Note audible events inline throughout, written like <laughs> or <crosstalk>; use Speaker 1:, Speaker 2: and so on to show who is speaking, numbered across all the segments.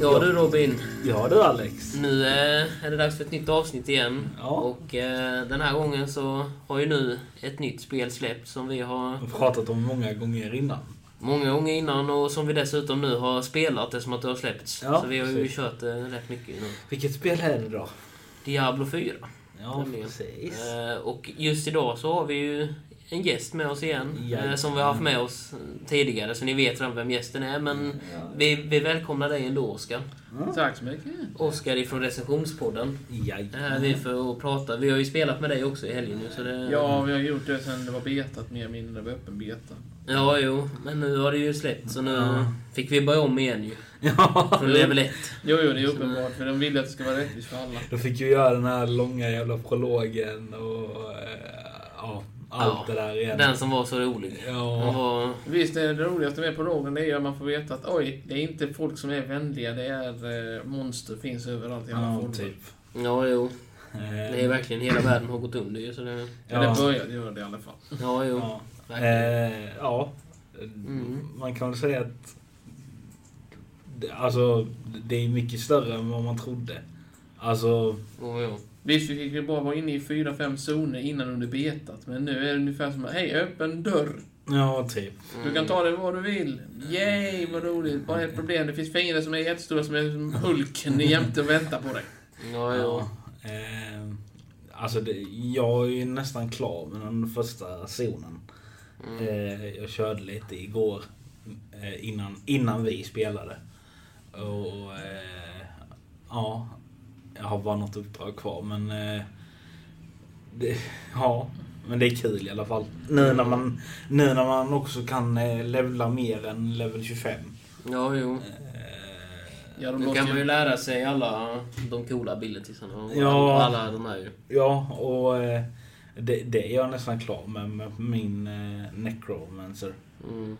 Speaker 1: Ja du Robin,
Speaker 2: Ja du Alex.
Speaker 1: nu eh, är det dags för ett nytt avsnitt igen.
Speaker 2: Ja.
Speaker 1: Och eh, den här gången så har ju nu ett nytt spel släppt som vi har
Speaker 2: Vi har pratat om många gånger innan.
Speaker 1: många gånger innan och som vi dessutom nu har spelat eftersom att det har släppts.
Speaker 2: Ja,
Speaker 1: så vi har ju
Speaker 2: precis.
Speaker 1: kört eh, rätt mycket nu.
Speaker 2: Vilket spel är det då?
Speaker 1: Diablo 4.
Speaker 2: Ja,
Speaker 1: nämligen.
Speaker 2: precis.
Speaker 1: Eh, och just idag så har vi ju en gäst med oss igen.
Speaker 2: Ja.
Speaker 1: Eh, som vi har haft med oss tidigare så ni vet redan vem gästen är. Men vi, vi välkomnar dig ändå Oskar.
Speaker 3: Tack så mycket.
Speaker 1: Oskar ifrån recensionspodden. Det här är
Speaker 2: Jajamän.
Speaker 1: vi för att prata. Vi har ju spelat med dig också i helgen nu så det...
Speaker 3: Ja, vi har gjort det sen det var betat, mer eller mindre. Det var öppen beta.
Speaker 1: Ja, jo. Men nu har det ju släppt så nu
Speaker 2: Ja.
Speaker 1: fick vi börja om igen ju.
Speaker 2: <laughs> Ja.
Speaker 1: Från level 1.
Speaker 3: Jo, jo, det är uppenbart, för de vill att det ska vara rättvist för alla.
Speaker 2: Då fick vi göra den här långa jävla prologen och eh, ja, allt
Speaker 1: Ja,
Speaker 2: det där igen.
Speaker 1: Den som var så rolig. Den
Speaker 2: Ja.
Speaker 1: var...
Speaker 3: Visst, det roligaste med prologen det är ju att man får veta att oj, det är inte folk som är vänliga, det är eh, monster finns överallt i alla
Speaker 2: Ja,
Speaker 3: former.
Speaker 2: typ.
Speaker 1: Ja, jo. Det är
Speaker 2: Eh,
Speaker 1: verkligen hela världen har gått under ju så det...
Speaker 3: Ja. Eller
Speaker 2: ja.
Speaker 3: började göra det i alla fall.
Speaker 1: Ja, jo.
Speaker 2: Ja.
Speaker 1: Verkligen.
Speaker 2: Eh, ja.
Speaker 1: Mm.
Speaker 2: Man kan väl säga att det- Alltså, det är mycket större än vad man trodde. Alltså,
Speaker 1: Oh, jo.
Speaker 3: Visst, vi fick ju bara vara inne i fyra fem zoner innan under betat, men nu är det ungefär som hej, öppen dörr!
Speaker 2: ja, typ.
Speaker 3: Du kan ta det var du vill. Yay, vad roligt! Bara ett problem, det finns fiender som är jättestora som är som Hulken jämte och väntar på dig.
Speaker 1: Ja, jo.
Speaker 2: Ehm, alltså det, jag är ju nästan klar med den första zonen.
Speaker 1: Mm.
Speaker 2: Eh, jag körde lite igår eh, innan, innan vi spelade. Och eh, ja, jag har bara något uppdrag kvar men eh, det, ja, men det är kul i alla fall. Nu när man, nu när man också kan eh, levla mer än level 25.
Speaker 1: Ja, jo.
Speaker 2: Eh,
Speaker 3: Ja, de
Speaker 1: Nu
Speaker 3: låter
Speaker 1: kan
Speaker 3: ju-
Speaker 1: man ju lära sig alla de coola abilitiesarna och
Speaker 2: Ja.
Speaker 1: och alla de här ju.
Speaker 2: Ja, och eh, det, det är jag nästan klar med, med min eh, necromancer.
Speaker 1: Mm.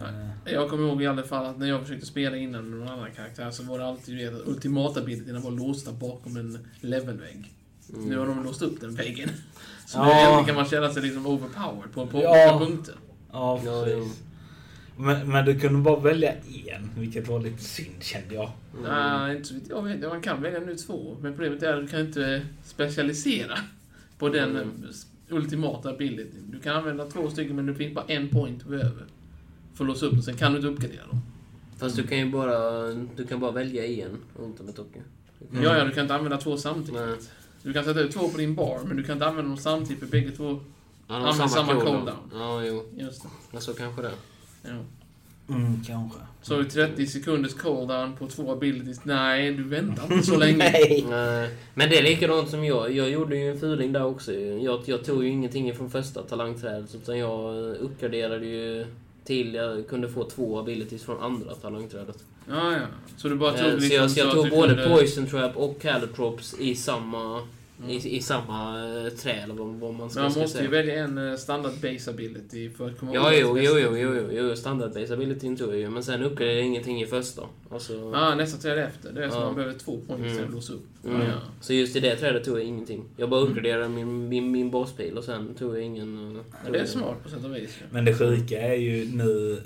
Speaker 2: Eh,
Speaker 3: Jag kommer ihåg i alla fall att när jag försökte spela innan med någon annan karaktär så var det alltid du vet, att ultimatabilityn var låsta bakom en levelvägg.
Speaker 1: Mm.
Speaker 3: Nu har de låst upp den väggen. <laughs> Så nu
Speaker 2: Ja.
Speaker 3: äntligen kan man känna sig liksom overpowered på, på
Speaker 2: Ja.
Speaker 3: olika punkter.
Speaker 2: ja,
Speaker 1: Ja,
Speaker 2: precis. Men, men du kunde bara välja en, vilket var lite synd kände jag.
Speaker 1: Mm.
Speaker 3: Nej, inte så vitt jag vet. Man kan välja nu två, men problemet är att du kan inte specialisera på den
Speaker 1: Mm.
Speaker 3: ultimata abilityn. Du kan använda två stycken, men du finns bara en point över för att låsa upp den. Sen kan du inte uppgradera dem.
Speaker 1: Fast du kan ju bara, du kan bara välja i en Ultimate Hockey.
Speaker 3: Ja, ja, du kan inte använda två samtidigt.
Speaker 1: Mm. Nej.
Speaker 3: Du kan sätta ut två på din bar, men du kan inte använda dem samtidigt för bägge två...
Speaker 1: Ja, de
Speaker 3: Ja,
Speaker 1: har
Speaker 3: men
Speaker 1: samma
Speaker 3: samma
Speaker 1: cooldown.
Speaker 3: cooldown.
Speaker 1: Ja, jo.
Speaker 3: Just det.
Speaker 1: Ja, så kanske det.
Speaker 3: Ja.
Speaker 2: Mm, kanske.
Speaker 3: Så har du 30 sekunders cooldown på två abilities. Nej, du väntar inte så länge.
Speaker 2: Nej!
Speaker 1: <laughs> Nej. Men det är likadant som jag. Jag gjorde ju en fuling där också. ju. Jag, jag tog ju ingenting från första talangträdet utan jag eh, uppgraderade ju till jag kunde få två abilities från andra talangträdet.
Speaker 3: Ja, ja. Så du bara tog liksom
Speaker 1: Eh, så jag, så jag
Speaker 3: att
Speaker 1: tog
Speaker 3: du
Speaker 1: både
Speaker 3: kunde-
Speaker 1: Poison Trap och Caliprops i samma, i, i samma eh, trä eller vad, vad man ska,
Speaker 3: Men man
Speaker 1: ska
Speaker 3: måste ju
Speaker 1: säga.
Speaker 3: välja en eh, standard base ability för att komma
Speaker 1: Ja,
Speaker 3: åt
Speaker 1: jo, jo,
Speaker 3: nästa.
Speaker 1: jo, jo, jo, jo, standardbase ability tog jag ju, men sen uppgraderade jag ingenting i första. Alltså,
Speaker 3: Ah, nästa träd efter. Det är som
Speaker 1: Ja.
Speaker 3: man behöver två points
Speaker 1: Mm.
Speaker 3: för att låsa upp.
Speaker 1: Mm.
Speaker 3: Ja.
Speaker 1: Så just i det trädet tog jag ingenting. Jag bara uppgraderade min, min, min baspil och sen tog jag ingen... eh,
Speaker 3: Ja, det är smart på sätt och vis. ju.
Speaker 2: Men det sjuka är ju nu...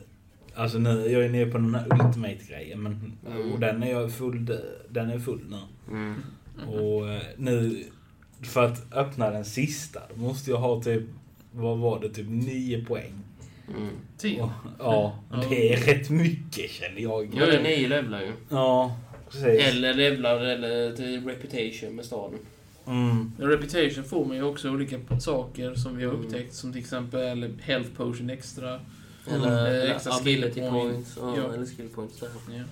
Speaker 2: Alltså nu, jag är nere på den här ultimate-grejen men...
Speaker 1: Mm.
Speaker 2: Och den är jag full... Den är full nu.
Speaker 1: Mm.
Speaker 2: Och eh, nu, för att öppna den sista, då måste jag ha typ, vad var det, typ 9 poäng.
Speaker 1: Mm.
Speaker 3: Tio.
Speaker 2: Och, ja, det är rätt mycket känner
Speaker 1: Ja,
Speaker 2: jag.
Speaker 1: det är nio levlar ju.
Speaker 2: Ja, precis.
Speaker 1: Eller levlar eller till reputation med staden.
Speaker 2: Mm.
Speaker 3: Men Reputation får man ju också olika saker som vi har
Speaker 1: Mm.
Speaker 3: upptäckt. Som till exempel health potion extra.
Speaker 1: Eller
Speaker 3: Eh, extra skill
Speaker 1: ability
Speaker 3: point.
Speaker 1: points. Ja,
Speaker 3: Ja.
Speaker 1: Eller skill points. Där.
Speaker 3: Ja.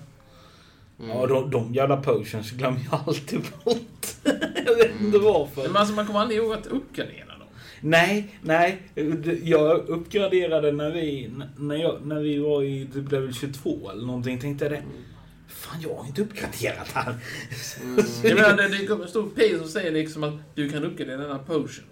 Speaker 1: Mm.
Speaker 2: Ja, de, de jävla potions glömmer jag alltid bort. <laughs> jag vet
Speaker 1: Mm.
Speaker 2: inte varför.
Speaker 3: Men alltså, man kommer aldrig ihåg att uppgradera dem.
Speaker 2: Nej, nej. Jag uppgraderade när vi, när jag, när vi var i, det blev väl 22 eller någonting, tänkte jag det. Fan, jag har inte uppgraderat här.
Speaker 1: Mm. <laughs> Mm.
Speaker 3: Jag menar, det dyker upp en stor pil som säger liksom att du kan uppgradera denna potion.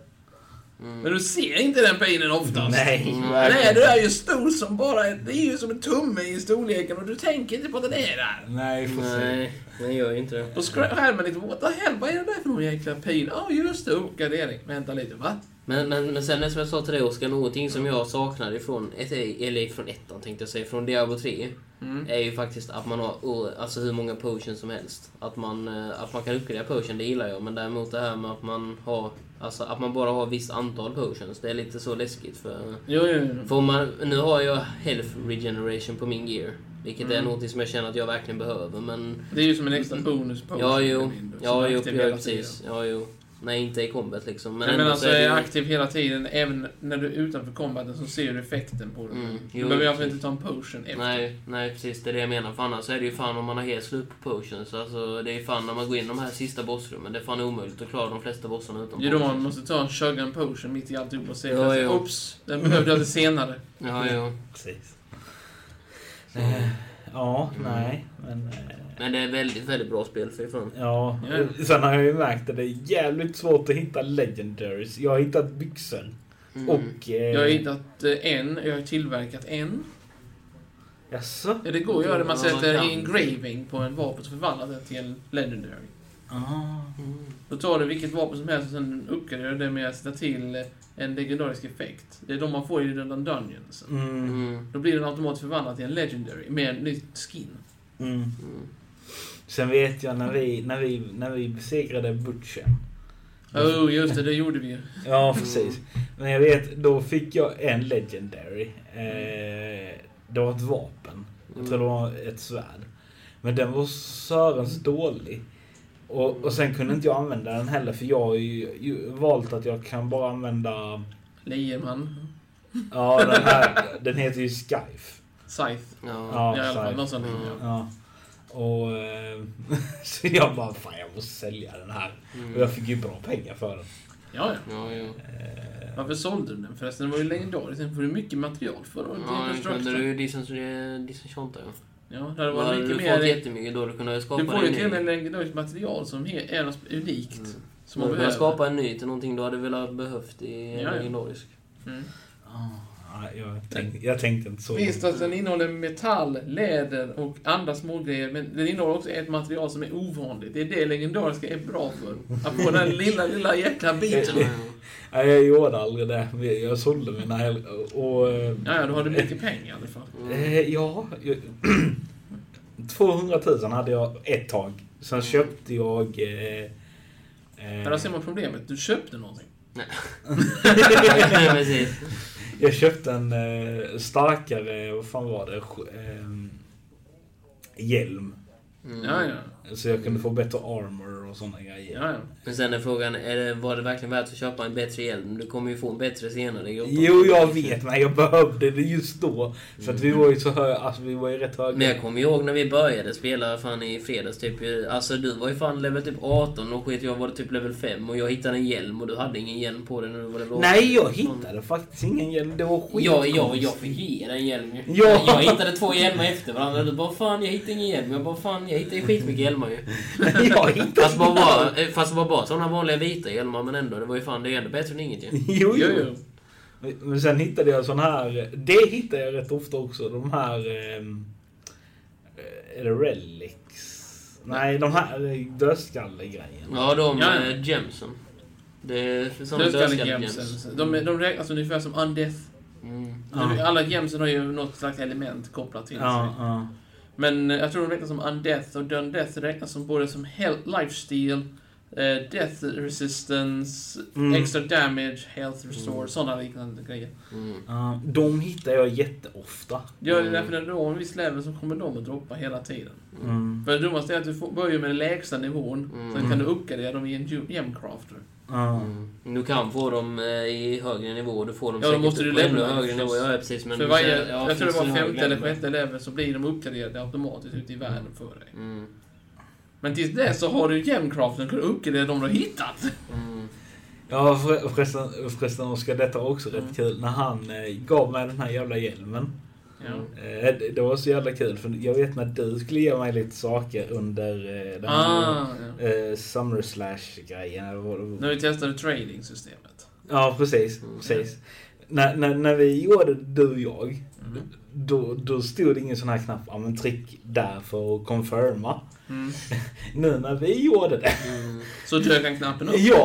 Speaker 3: Men du ser inte den pinen oftast.
Speaker 2: Nej.
Speaker 3: <laughs> Nej,
Speaker 1: Mm.
Speaker 3: du är ju stor som bara... Det är ju som en tumme i storleken och du tänker inte på att den är där.
Speaker 2: Nej, får se.
Speaker 1: Nej, den gör ju inte det.
Speaker 3: På skra- skärmen lite, what the hell, vad är det där för någon jäkla pin? Ja, just det, uppgradering. Vänta lite, va?
Speaker 1: Men, men, men sen är det som jag sa till dig Oskar, någonting som jag saknar ifrån, ett, eller från ettan tänkte jag säga, från Diablo 3. Är ju faktiskt att man har o- alltså hur många potions som helst. Att man, eh, att man kan uppgradera potion, det gillar jag. Men däremot det här med att man har, alltså att man bara har visst antal potions. Det är lite så läskigt för...
Speaker 3: Jo, jo, jo.
Speaker 1: Får man, nu har jag health regeneration på min gear. Vilket
Speaker 3: Mm.
Speaker 1: är något som jag känner att jag verkligen behöver men...
Speaker 3: Det är ju som en extra bonus på
Speaker 1: Ja jo, ja jo,
Speaker 3: aktiv
Speaker 1: ja,
Speaker 3: hela
Speaker 1: precis.
Speaker 3: tiden.
Speaker 1: Ja jo. Nej inte i combat liksom. Men,
Speaker 3: Men, Nej, men
Speaker 1: ändå
Speaker 3: alltså,
Speaker 1: så är det
Speaker 3: är
Speaker 1: ju-
Speaker 3: aktiv hela tiden, även när du är utanför combaten så ser du effekten på det.
Speaker 1: Mm,
Speaker 3: du
Speaker 1: jo,
Speaker 3: behöver
Speaker 1: jo,
Speaker 3: alltså inte ta en potion efter.
Speaker 1: Nej, nej precis. Det är det jag menar. För annars är det ju fan om man har helt slut på potions. Alltså, det är fan när man går in i de här sista bossrummen. Det är fan omöjligt att klara de flesta bossarna utan
Speaker 3: Det är då man
Speaker 1: potions.
Speaker 3: måste ta en sugar potion mitt i alltihop och se.
Speaker 1: Ja,
Speaker 3: Ja,
Speaker 1: ja.
Speaker 3: Oops, den behövde jag lite senare.
Speaker 1: Ja, ja.
Speaker 2: Precis. Eh, Ja, nej. Men, eh,
Speaker 1: Men det är väldigt, väldigt bra spel för fan.
Speaker 2: Ja,
Speaker 3: Ja.
Speaker 2: sen har jag ju märkt att det är jävligt svårt att hitta legendaries. Jag har hittat byxor.
Speaker 1: Mm.
Speaker 2: Och... Eh,
Speaker 3: Jag har hittat eh, en, jag har tillverkat en.
Speaker 2: Jaså?
Speaker 3: Ja, det går att göra. Man
Speaker 1: Ja,
Speaker 3: sätter
Speaker 1: man kan.
Speaker 3: engraving på en vapen så förvandlar den till en legendary.
Speaker 2: Ah.
Speaker 1: Mm.
Speaker 3: Då tar du vilket vapen som helst och sen uppgraderar du det med att sätta till eh, en legendarisk effekt. Det är de man får i den där dungeonsen.
Speaker 2: Mm.
Speaker 1: Mm.
Speaker 3: Då blir den automatiskt förvandlad till en legendary med en ny skin.
Speaker 2: Mm.
Speaker 1: Mm.
Speaker 2: Sen vet jag när vi, när vi, när vi besegrade Butchen.
Speaker 1: Mm.
Speaker 3: Oh, just det, det gjorde vi ju.
Speaker 2: Ja, precis. Men jag vet, då fick jag en legendary. Eh, det var ett vapen.
Speaker 1: Mm.
Speaker 2: Jag tror det var ett svärd. Men den var sörens dålig. Och, och sen kunde inte jag använda den heller för jag har ju, ju valt att jag kan bara använda...
Speaker 3: Lejerman.
Speaker 2: Ja, den här. den heter ju Skyfe.
Speaker 3: Scythe.
Speaker 1: Ja.
Speaker 2: Ja,
Speaker 3: Ja, i alla fall.
Speaker 2: Scythe.
Speaker 3: Någon sån.
Speaker 1: Mm.
Speaker 2: Ja. Och... Eh, <laughs> så jag bara, fan jag måste sälja den här. Och
Speaker 1: Mm.
Speaker 2: jag fick ju bra pengar för den.
Speaker 3: Ja, ja.
Speaker 1: Ja, ja.
Speaker 2: Eh,
Speaker 3: Varför sålde du den förresten? Den var ju legendarisk. Sen får du mycket material för att
Speaker 1: Ja, nu kunde
Speaker 3: deconstructa.
Speaker 1: du ju disen- disenchanta ju.
Speaker 3: Ja, det hade
Speaker 1: Då hade
Speaker 3: varit
Speaker 1: du
Speaker 3: mycket
Speaker 1: fått
Speaker 3: mer...
Speaker 1: jättemycket då. Du kunde skapa
Speaker 3: Du får ju
Speaker 1: en
Speaker 3: till och
Speaker 1: ny.
Speaker 3: med legendariskt material som he- är något unikt.
Speaker 1: Mm.
Speaker 3: Som man
Speaker 1: Du kunde
Speaker 3: behöver.
Speaker 1: skapa en ny till någonting du hade velat behövt i en
Speaker 3: Ja, ja.
Speaker 1: legendarisk.
Speaker 3: Mm.
Speaker 2: ja, ah, jag, tänkte, jag tänkte inte så.
Speaker 3: Visst att den innehåller metall, läder och andra smågrejer, men den innehåller också ett material som är ovanligt. Det är det legendariska är bra för. Att få den lilla, lilla jäkla
Speaker 2: Eh,
Speaker 3: biten.
Speaker 1: Ja,
Speaker 2: Nej, jag gjorde aldrig det. Jag sålde mina hel- och... eh,
Speaker 3: Ja, ja, då har du mycket pengar i alla fall.
Speaker 1: ja. <laughs> Mm.
Speaker 2: Eh, ja, jag, <clears throat> 200 000 hade jag ett tag. Sen
Speaker 1: Mm.
Speaker 2: köpte jag... Eh,
Speaker 3: Men där
Speaker 2: eh,
Speaker 3: ser man problemet. Du köpte någonting.
Speaker 1: Precis.
Speaker 2: <laughs> jag köpte en eh, starkare, vad fan var det? Sk- ehm, hjälm.
Speaker 1: Mm.
Speaker 3: Ja, ja.
Speaker 2: Så jag kunde få bättre armor och sådana grejer.
Speaker 3: ja, ja.
Speaker 1: Men sen är frågan, är det, var det verkligen värt att köpa en bättre hjälm? Du kommer ju få en bättre senare i grottan.
Speaker 2: Jo, jag vet, men jag behövde det just då. För att vi var ju så höga, alltså vi var ju rätt höga.
Speaker 1: Mm. Men jag kommer ihåg när vi började spela fan i fredags typ. ju- Alltså du var ju fan level typ 18 och skit jag var typ level 5 och jag hittade en hjälm och du hade ingen hjälm på dig när du var level 18.
Speaker 2: Nej, jag hittade faktiskt ingen hjälm. Det var skitkonstigt.
Speaker 1: Ja, ja, jag fick ge dig en hjälm ju.
Speaker 2: Ja.
Speaker 1: Jag hittade två hjälmar efter varandra. Du bara fan jag hittade ingen hjälm. Jag bara fan jag hittade skitmycket hjälmar ju.
Speaker 2: <laughs> jag hittade
Speaker 1: Fast det var bara, eh, fast det var bara sådana vanliga vita hjälmar men ändå. Det var ju fan det är ju ändå bättre än inget ju.
Speaker 2: Jo,
Speaker 3: Jo,
Speaker 2: jo.
Speaker 3: jo.
Speaker 2: Men sen hittade jag sån här... Det hittar jag rätt ofta också. De här... ehm, eh, Är det relics? Nej, de här eh, dödskallegrejerna.
Speaker 1: Ja, de
Speaker 3: Ja, ja.
Speaker 1: ja. gemsen. Det är såna dödskallegems.
Speaker 3: Dödskallegemsen. De, de räknas ungefär som undeath.
Speaker 1: Mm.
Speaker 2: Ja.
Speaker 3: Alla gemsen har ju något slags element kopplat till sig.
Speaker 2: Ja, ja.
Speaker 3: Men eh, jag tror de räknas som undeath och dundeath räknas som både som health, lifesteal, eh, death resistance,
Speaker 2: Mm.
Speaker 3: extra damage, health restore, sådana liknande grejer.
Speaker 1: Mm.
Speaker 2: Ja, De hittar jag jätteofta.
Speaker 3: Det är
Speaker 1: Mm.
Speaker 3: därför när du har en viss level så kommer de att droppa hela tiden.
Speaker 2: Mm.
Speaker 3: För det dummaste är att du får, börjar med den lägsta nivån,
Speaker 1: Mm.
Speaker 3: sen kan du uppgradera dem i en gem- gemcrafter.
Speaker 2: Ja.
Speaker 1: Du Mm. kan få dem eh, i högre nivå, du får dem
Speaker 3: Ja, då
Speaker 1: säkert
Speaker 3: måste du
Speaker 1: på ännu
Speaker 3: lämna dem
Speaker 1: högre nivå.
Speaker 3: förstås.
Speaker 1: Ja, precis. Men
Speaker 3: för
Speaker 1: du
Speaker 3: varje,
Speaker 1: säger- ja,
Speaker 3: jag tror det
Speaker 1: finns
Speaker 3: var
Speaker 1: en hög
Speaker 3: femte eller
Speaker 1: lämna.
Speaker 3: sjätte level så blir de uppgraderade automatiskt ute i världen för dig.
Speaker 1: Mm.
Speaker 3: Men tills dess så har du gemcraften kunnat uppgradera dem du har hittat.
Speaker 1: Mm.
Speaker 2: Ja, för- förresten, förresten Oskar, detta var också rätt kul. När han eh, gav mig den här jävla hjälmen.
Speaker 3: Ja.
Speaker 2: Eh, det- Det var så jävla kul, för jag vet när du skulle ge mig lite saker under eh, den här
Speaker 3: Ah, ja.
Speaker 2: eh, Summer Slash-grejen. eller vad det var.
Speaker 3: När vi testade trading-systemet.
Speaker 2: Ja, precis.
Speaker 1: Mm.
Speaker 2: precis. När, när, när vi gjorde du och jag,
Speaker 3: Mm.
Speaker 1: Mm.
Speaker 2: då, då stod det ingen sån här knapp, ja men tryck där för att confirma.
Speaker 3: Mm.
Speaker 2: Nu när vi gjorde det.
Speaker 3: Så dök han knappen upp?
Speaker 2: Ja!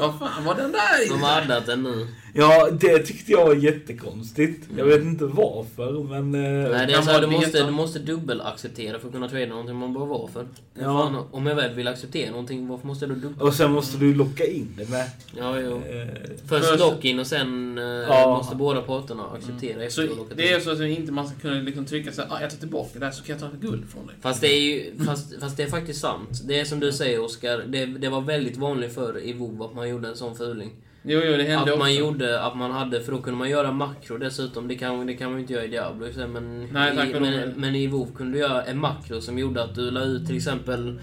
Speaker 1: Ja,
Speaker 3: Vad fan var den där
Speaker 1: de
Speaker 3: inne?
Speaker 1: har addat den nu.
Speaker 2: Ja, det tyckte jag var jättekonstigt. Jag vet inte varför, men... eh,
Speaker 1: Mm. Nej, det är
Speaker 3: kan
Speaker 1: så här, du,
Speaker 3: man
Speaker 1: måste,
Speaker 3: veta?
Speaker 1: du måste dubbelacceptera för att kunna trada någonting man bör vara för.
Speaker 2: Ja.
Speaker 1: Fan, om jag väl vill acceptera någonting, varför måste jag då dubbel...
Speaker 2: Och sen måste du locka in det med.
Speaker 1: Ja, jo.
Speaker 2: eh,
Speaker 1: Först
Speaker 3: Först-
Speaker 1: lock-in och sen eh,
Speaker 2: Ja.
Speaker 1: måste båda parterna acceptera efter
Speaker 3: Mm. Så
Speaker 1: locket
Speaker 3: det
Speaker 1: in.
Speaker 3: är så att man inte man ska kunna liksom trycka så här, ah, jag tar tillbaka det här så kan jag ta ett guld från dig.
Speaker 1: Fast det är ju, fast, fast det är faktiskt sant. Det är som du säger Oskar, det, det var väldigt vanligt förr i WoW att man gjorde en sån fuling.
Speaker 3: Jo, jo, det hände
Speaker 1: Att man
Speaker 3: också.
Speaker 1: gjorde, att man hade, för då kunde man göra makro dessutom. Det kan, det kan man ju inte göra i Diablo i och för sig, men,
Speaker 3: Nej, tack
Speaker 1: i,
Speaker 3: och
Speaker 1: men,
Speaker 3: lov.
Speaker 1: men i WoW kunde du göra en makro som gjorde att du la ut till exempel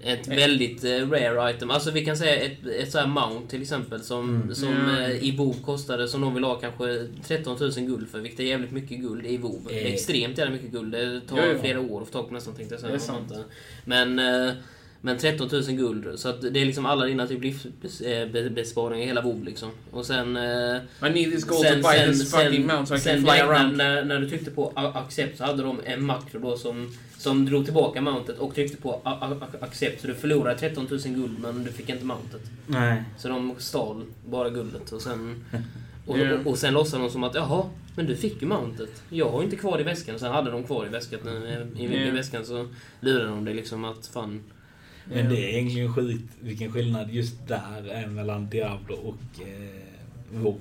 Speaker 1: ett
Speaker 3: Eh.
Speaker 1: väldigt eh, rare item. Alltså vi kan säga ett, ett så här mount till exempel som, som
Speaker 3: Mm. Ja.
Speaker 1: eh, i WoW kostade, som de vill ha kanske 13 000 guld för, vilket är jävligt mycket guld i WoW. Det är
Speaker 2: Eh.
Speaker 1: Extremt jävla mycket guld. Det tar
Speaker 3: Jo, jo.
Speaker 1: flera år att få tag på nästan tänkte jag säga.
Speaker 3: Det är sant.
Speaker 1: Men, eh, men 13 000 guld, så att det är liksom alla dina typ livsbesparingar i hela WoW liksom. Och sen... eh,
Speaker 3: I need this gold to buy this fucking mount so I
Speaker 1: sen
Speaker 3: can fly
Speaker 1: like, när,
Speaker 3: around.
Speaker 1: när, när du tryckte på a- accept så hade de en makro då som, som drog tillbaka mountet och tryckte på a- a- a- accept så du förlorade 13 000 guld men du fick inte mountet.
Speaker 2: Nej.
Speaker 1: Så de stal bara guldet och
Speaker 3: <laughs>
Speaker 1: sen... Och,
Speaker 3: Ja.
Speaker 1: och, och sen låtsade de som att jaha, men du fick ju mountet. Jag har ju inte kvar det i väskan. Sen hade de kvar i väskan, eh, i, i, i
Speaker 3: Ja.
Speaker 1: väskan så lurade de dig liksom att fan...
Speaker 2: Men det är egentligen sjukt vilken skillnad just där är mellan Diablo och eh, WoW.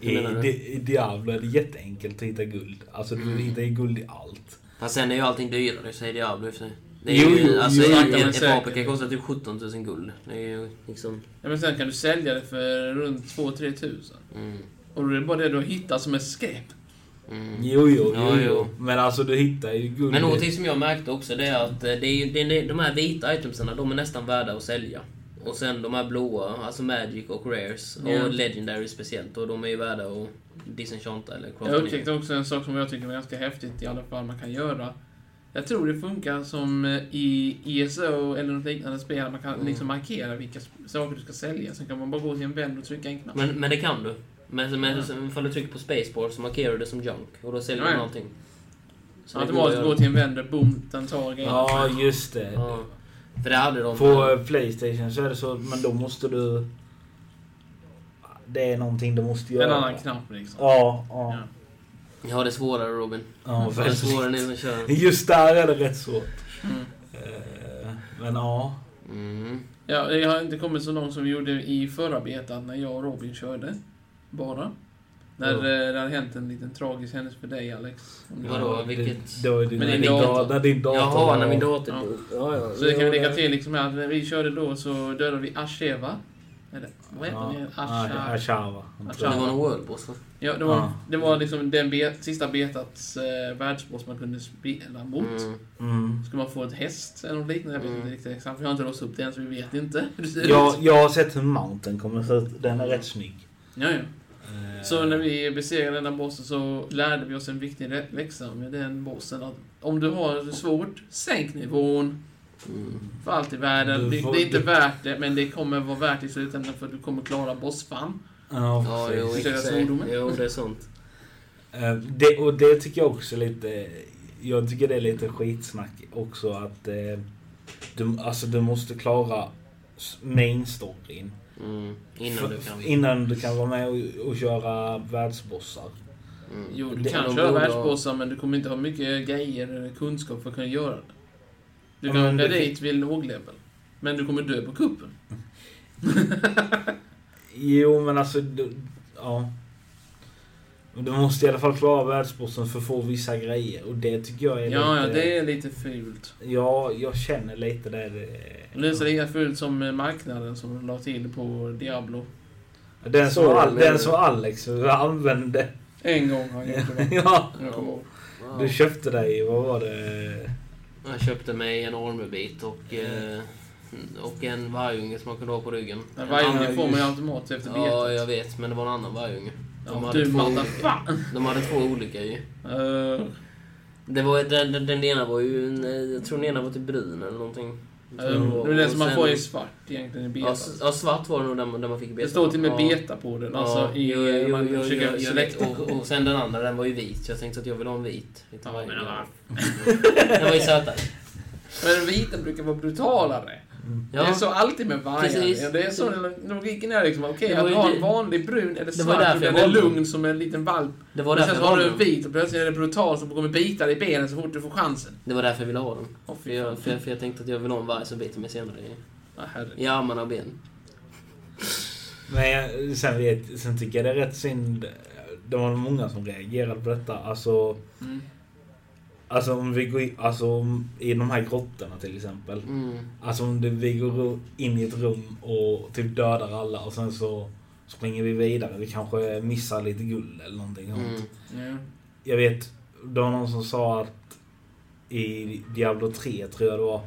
Speaker 2: I,
Speaker 1: Hur menar du? Mm.
Speaker 2: Di- I Diablo är det jätteenkelt att hitta guld. Alltså du hittar ju guld i allt.
Speaker 1: Fast sen är ju allting dyrare, säger Diablo i och för sig. Det är
Speaker 2: Jo,
Speaker 1: ju,
Speaker 2: jo,
Speaker 1: alltså,
Speaker 2: jo,
Speaker 1: ett,
Speaker 3: jo.
Speaker 1: ett,
Speaker 3: Men
Speaker 1: ett
Speaker 3: säkert.
Speaker 1: APK kostar typ 17 000 guld. Det är ju liksom...
Speaker 3: Ja, men sen kan du sälja det för runt 2-3 tusen.
Speaker 1: Mm,
Speaker 3: Och då är det bara det du har hittat som är skräp.
Speaker 1: mm.
Speaker 2: Jo, jo,
Speaker 1: Ja,
Speaker 2: jo,
Speaker 1: jo.
Speaker 2: jo. Men alltså du hittar ju guld.
Speaker 1: Men någonting som jag märkte också det är att eh, det är, ju- det är, de här vita itemsen, de är nästan värda att sälja. Och sen de här blåa, alltså Magic och Rares och
Speaker 3: Ja.
Speaker 1: Legendary speciellt, och de är ju värda att disenchanta eller crafta
Speaker 3: Jag
Speaker 1: ner.
Speaker 3: upptäckte också en sak som jag tycker är ganska häftigt i alla fall man kan göra. Jag tror det funkar som eh, i ESO eller något liknande spel. Man kan
Speaker 1: Mm.
Speaker 3: liksom markera vilka s- saker du ska sälja. Sen kan man bara gå till en vän och trycka en knapp.
Speaker 1: Men, men det kan du. Men, men
Speaker 3: Ja.
Speaker 1: ifall du trycker på spacebar så markerar du det som junk och då säljer
Speaker 3: Ja,
Speaker 1: du
Speaker 3: ja.
Speaker 1: någonting. Så
Speaker 3: Så
Speaker 1: det går att
Speaker 3: automatiskt
Speaker 1: göra.
Speaker 3: gå till en vän där, boom, den tar grejen.
Speaker 2: Ja, just det.
Speaker 1: Ja. För det hade de.
Speaker 2: På eh, Playstation så är det så, men då måste du... Det är någonting du måste göra.
Speaker 3: En annan knapp liksom.
Speaker 2: Ja,
Speaker 3: Ja.
Speaker 2: ja.
Speaker 1: Jag har det är svårare Robin.
Speaker 2: ja.
Speaker 1: Det är
Speaker 2: väldigt.
Speaker 1: svårare nu Mm. som kör.
Speaker 2: <laughs> Just där är det rätt svårt.
Speaker 3: Mm.
Speaker 2: Eh, Men ja.
Speaker 1: Mm.
Speaker 3: Ja, jag har inte kommit så långt som vi gjorde i förra betan när jag och Robin körde. Bara. När
Speaker 1: Ja.
Speaker 3: eh, det hade hänt en liten tragisk händelse för dig Alex. Om du-
Speaker 1: Vadå,
Speaker 2: Ja,
Speaker 1: vilket-
Speaker 2: Det, det var ju din,
Speaker 3: Men din
Speaker 2: din dator.
Speaker 3: dator.
Speaker 2: När din dator
Speaker 1: Jaha,
Speaker 2: var-
Speaker 1: när min dator
Speaker 3: Ja.
Speaker 1: dog. Ja, ja.
Speaker 3: Så det kan vi lägga till liksom här, att när vi körde då så dödade vi Asheva. Eller vad heter
Speaker 2: Ja,
Speaker 3: det?
Speaker 2: ja,
Speaker 3: Asha.
Speaker 2: Ashava.
Speaker 1: Det var
Speaker 3: Ashava.
Speaker 1: nog World Boss va?
Speaker 3: Ja, det var,
Speaker 2: Ja.
Speaker 3: det var liksom den bet, sista betats eh, världsboss man kunde spela mot.
Speaker 1: Mm.
Speaker 2: Mm.
Speaker 3: Ska man få ett häst eller något liknande? Jag vet
Speaker 1: Mm.
Speaker 3: inte riktigt exakt. Vi har inte låst upp det än så vi vet inte hur det ser
Speaker 2: Jag,
Speaker 3: ut.
Speaker 2: jag har sett hur mountain kommer se ut. Den är rätt snygg.
Speaker 3: Ja, ja.
Speaker 2: Eh,
Speaker 3: Så när vi besegrade den här bossen så lärde vi oss en viktig lä- läxa med den bossen. Att om du har det svårt, sänk nivån.
Speaker 1: Mm.
Speaker 3: För allt i världen.
Speaker 2: Du
Speaker 3: Det,
Speaker 2: får-
Speaker 3: det är inte
Speaker 2: du-
Speaker 3: värt det, men det kommer vara värt i slutändan för att du kommer klara bossfan.
Speaker 2: Eh, Ja,
Speaker 1: Ja,
Speaker 2: precis.
Speaker 1: jo, i och för
Speaker 3: Deras
Speaker 1: sig.
Speaker 3: svordomar.
Speaker 1: Jo, det är sånt.
Speaker 2: Eh, det, och det tycker jag också är lite... Jag tycker det är lite skitsnack också att... Eh, du, alltså du måste klara s- main storyn.
Speaker 1: Mm. Innan du
Speaker 2: F-
Speaker 1: kan...
Speaker 2: innan du kan vara med och, och köra världsbossar.
Speaker 1: Mm.
Speaker 3: Jo, du
Speaker 2: Det-
Speaker 3: kan
Speaker 1: de
Speaker 3: köra
Speaker 1: borde ha-
Speaker 3: världsbossar, men du kommer inte ha mycket grejer eller kunskap för att kunna göra det. Du
Speaker 2: Ja,
Speaker 3: kan
Speaker 2: men
Speaker 3: åka
Speaker 2: det-
Speaker 3: dit vid låglevel. Men du kommer dö på kuppen.
Speaker 2: Jo, men alltså... Du, ja. Men Du måste i alla fall klara världsbossen för att få vissa grejer. Och det tycker jag är
Speaker 3: Ja, ja,
Speaker 2: lite...
Speaker 3: det är lite fult.
Speaker 2: Ja, jag känner lite eh, det.
Speaker 3: Och Det är så lika fult som eh, marknaden som de la till på Diablo.
Speaker 2: Den som,
Speaker 1: Så,
Speaker 2: Al-
Speaker 1: men-
Speaker 2: den som Alex använde. <laughs>
Speaker 3: En gång har jag gjort det.
Speaker 2: ja,
Speaker 3: Jag kommer ihåg.
Speaker 1: Wow.
Speaker 2: du köpte dig, vad var det?
Speaker 1: Jag köpte mig en ormebit och, eh, och en vargunge som man kunde ha på ryggen.
Speaker 3: Men Varje
Speaker 2: Ja,
Speaker 3: gång får man ju
Speaker 2: just-
Speaker 3: automatiskt efter betet.
Speaker 1: Ja, jag vet, men det var en annan vargunge. De
Speaker 3: Ja,
Speaker 1: hade
Speaker 3: du
Speaker 1: två
Speaker 3: Matta,
Speaker 1: olika.
Speaker 3: fan!
Speaker 1: De hade två olika ju.
Speaker 3: Eh,
Speaker 1: eh, Det var, den, den, den ena var ju... en- Jag tror den ena var typ brun eller någonting.
Speaker 3: Mm. Det är det som man får i svart egentligen i beta.
Speaker 1: Ja, s- ja, svart var det nog där man, där man fick beta.
Speaker 3: det står till och med
Speaker 1: ja.
Speaker 3: beta på den. Alltså i...
Speaker 1: jo, jo,
Speaker 3: man
Speaker 1: jo, jo,
Speaker 3: försöker
Speaker 1: jo, jag vet.
Speaker 3: selekta.
Speaker 1: och, och sen den andra, den var ju vit. Så jag tänkte att jag vill ha en vit. Lite
Speaker 3: Ja,
Speaker 1: varje.
Speaker 3: men alla-
Speaker 1: <laughs> den var ju sötare.
Speaker 3: Men den vita brukar vara brutalare.
Speaker 1: Ja.
Speaker 3: Det är så alltid med vargar.
Speaker 1: Precis.
Speaker 3: Ja, Det är så logiken är liksom. Okej,
Speaker 1: Det var
Speaker 3: att
Speaker 1: ju
Speaker 3: ha
Speaker 1: det-
Speaker 3: en vanlig brun eller
Speaker 1: Det var
Speaker 3: svart och
Speaker 1: därför jag
Speaker 3: den är
Speaker 1: valde den.
Speaker 3: lugn som en liten valp.
Speaker 1: Det var
Speaker 3: Men
Speaker 1: därför
Speaker 3: sen
Speaker 1: jag
Speaker 3: så har du
Speaker 1: valde
Speaker 3: en
Speaker 1: den.
Speaker 3: vit och plötsligt är det brutal som kommer bita dig i benen så fort du får chansen.
Speaker 1: Det var därför jag ville ha den.
Speaker 3: Åh
Speaker 1: För
Speaker 3: fy fan.
Speaker 1: jag, för, jag, för jag tänkte att jag vill ha en varg som biter mig senare i,
Speaker 3: Ja, herregud.
Speaker 1: i armarna och benen.
Speaker 2: Men jag, sen, vet, sen tycker jag det är rätt synd. Det var många som reagerade på detta. Alltså,
Speaker 3: Mm.
Speaker 2: alltså om vi går i, alltså, om- i de här grottorna till exempel.
Speaker 1: Mm.
Speaker 2: Alltså om det, vi går in i ett rum och typ dödar alla och sen så springer vi vidare. Vi kanske missar lite guld eller någonting sånt.
Speaker 1: Mm.
Speaker 3: Ja.
Speaker 2: Jag vet, det var någon som sa att i Diablo 3 tror jag det var.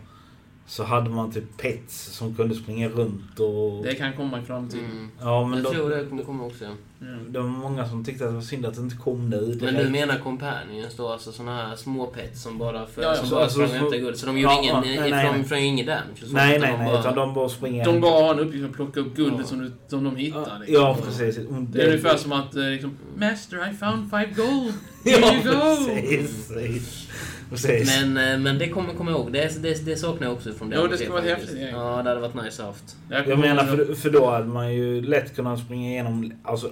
Speaker 2: Så hade man typ pets som kunde springa runt och...
Speaker 3: Det kan komma fram till.
Speaker 1: Mm.
Speaker 2: Ja men
Speaker 1: Jag
Speaker 2: de,
Speaker 1: tror det kommer komma också. ja.
Speaker 3: Ja.
Speaker 2: det var många som tyckte att det var synd att det inte kom nu.
Speaker 1: Men
Speaker 2: direkt.
Speaker 1: du menar companions då, alltså såna här små pets som bara, för,
Speaker 3: Ja, ja.
Speaker 1: som
Speaker 2: Så-
Speaker 1: bara
Speaker 2: alltså,
Speaker 1: sprang
Speaker 2: så-
Speaker 1: och hämtade guld? Så de gjorde
Speaker 2: Ja,
Speaker 1: ingen,
Speaker 2: ja,
Speaker 1: nej,
Speaker 2: nej,
Speaker 1: nej,
Speaker 2: nej,
Speaker 1: de
Speaker 2: nej.
Speaker 1: från ingen damage? och så,
Speaker 2: Nej
Speaker 1: utan
Speaker 2: nej
Speaker 1: de
Speaker 2: nej,
Speaker 1: bara-
Speaker 2: utan de bara springer...
Speaker 3: De bara har en uppgift att plocka upp guldet
Speaker 1: Ja.
Speaker 3: som, du, som de hittar. Liksom.
Speaker 2: Ja precis.
Speaker 3: Det är ungefär som att eh, liksom, Master I found five
Speaker 1: <laughs>
Speaker 3: gold! Here
Speaker 2: <laughs> Ja
Speaker 3: you go!
Speaker 2: precis. Precis. precis.
Speaker 1: Men, eh, men det kommer komma ihåg. Det, det, det saknar jag också från
Speaker 3: Ja,
Speaker 1: Diablo
Speaker 3: det
Speaker 1: 3
Speaker 3: ska vara
Speaker 1: faktiskt.
Speaker 3: häftigt, ja.
Speaker 1: Ja, det hade varit nice haft.
Speaker 3: Jag
Speaker 2: Jag menar för, för då hade man ju lätt kunnat springa igenom, alltså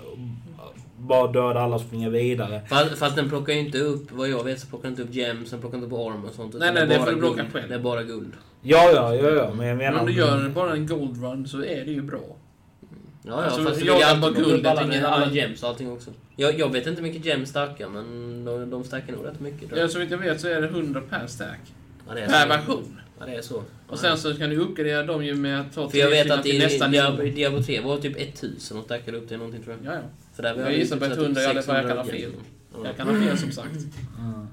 Speaker 2: bara döda alla och springa vidare.
Speaker 1: Fast, fast den plockar ju inte upp, vad jag vet, så plockar den inte upp gems, den plockar inte upp arm och sånt. utan
Speaker 3: Nej, nej, det
Speaker 1: bara
Speaker 3: får du plocka
Speaker 1: guld.
Speaker 3: själv.
Speaker 1: Det är bara guld.
Speaker 2: Ja, ja, ja, ja, men jag
Speaker 3: Men
Speaker 2: menar...
Speaker 3: om du gör bara en gold run så är det ju bra.
Speaker 1: Ja, ja,
Speaker 3: Alltså,
Speaker 1: fast
Speaker 3: jag
Speaker 1: jag
Speaker 3: kan
Speaker 1: alltid
Speaker 3: bara
Speaker 1: plocka upp
Speaker 3: guld, jag
Speaker 1: alla,
Speaker 3: tänker
Speaker 1: alla
Speaker 3: alla-
Speaker 1: gems och allting också. Jag, jag vet inte hur mycket gems stackar, men de, de stackar nog rätt mycket. tror
Speaker 3: Ja,
Speaker 1: jag.
Speaker 3: så vitt jag vet så är det 100 per stack.
Speaker 1: Ja, det
Speaker 3: Per
Speaker 1: är så.
Speaker 3: version.
Speaker 1: Ja, det är så.
Speaker 3: Och sen så kan du uppgradera dem ju med att ta
Speaker 1: Mm. För jag
Speaker 3: tre
Speaker 1: vet
Speaker 3: stycken
Speaker 1: att i
Speaker 3: till nästa nivå.
Speaker 1: Diab- Diablo 3 var det typ 1000 de stackade upp till någonting tror jag.
Speaker 3: Ja, ja.
Speaker 1: För där var
Speaker 3: Jag
Speaker 1: ju
Speaker 3: gissar på
Speaker 1: typ
Speaker 3: 100, jag kan ha
Speaker 1: 600
Speaker 3: fel.
Speaker 1: gems. Ja.
Speaker 3: Jag kan ha fel som sagt.
Speaker 2: Mm.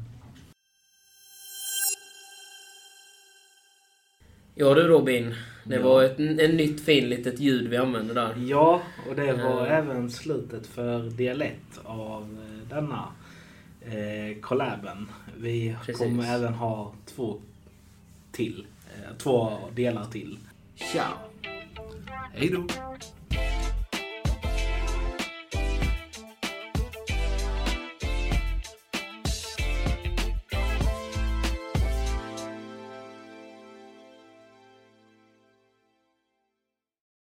Speaker 1: Ja du Robin, det
Speaker 2: Ja.
Speaker 1: var ett, ett nytt fint litet ljud vi använde där.
Speaker 4: Ja, och det var
Speaker 1: Eh.
Speaker 4: även slutet för dialekt av eh, denna eh, collaben. Vi
Speaker 1: Precis.
Speaker 4: kommer även ha två till. Eh, två delar till. Ciao!
Speaker 3: Hej då.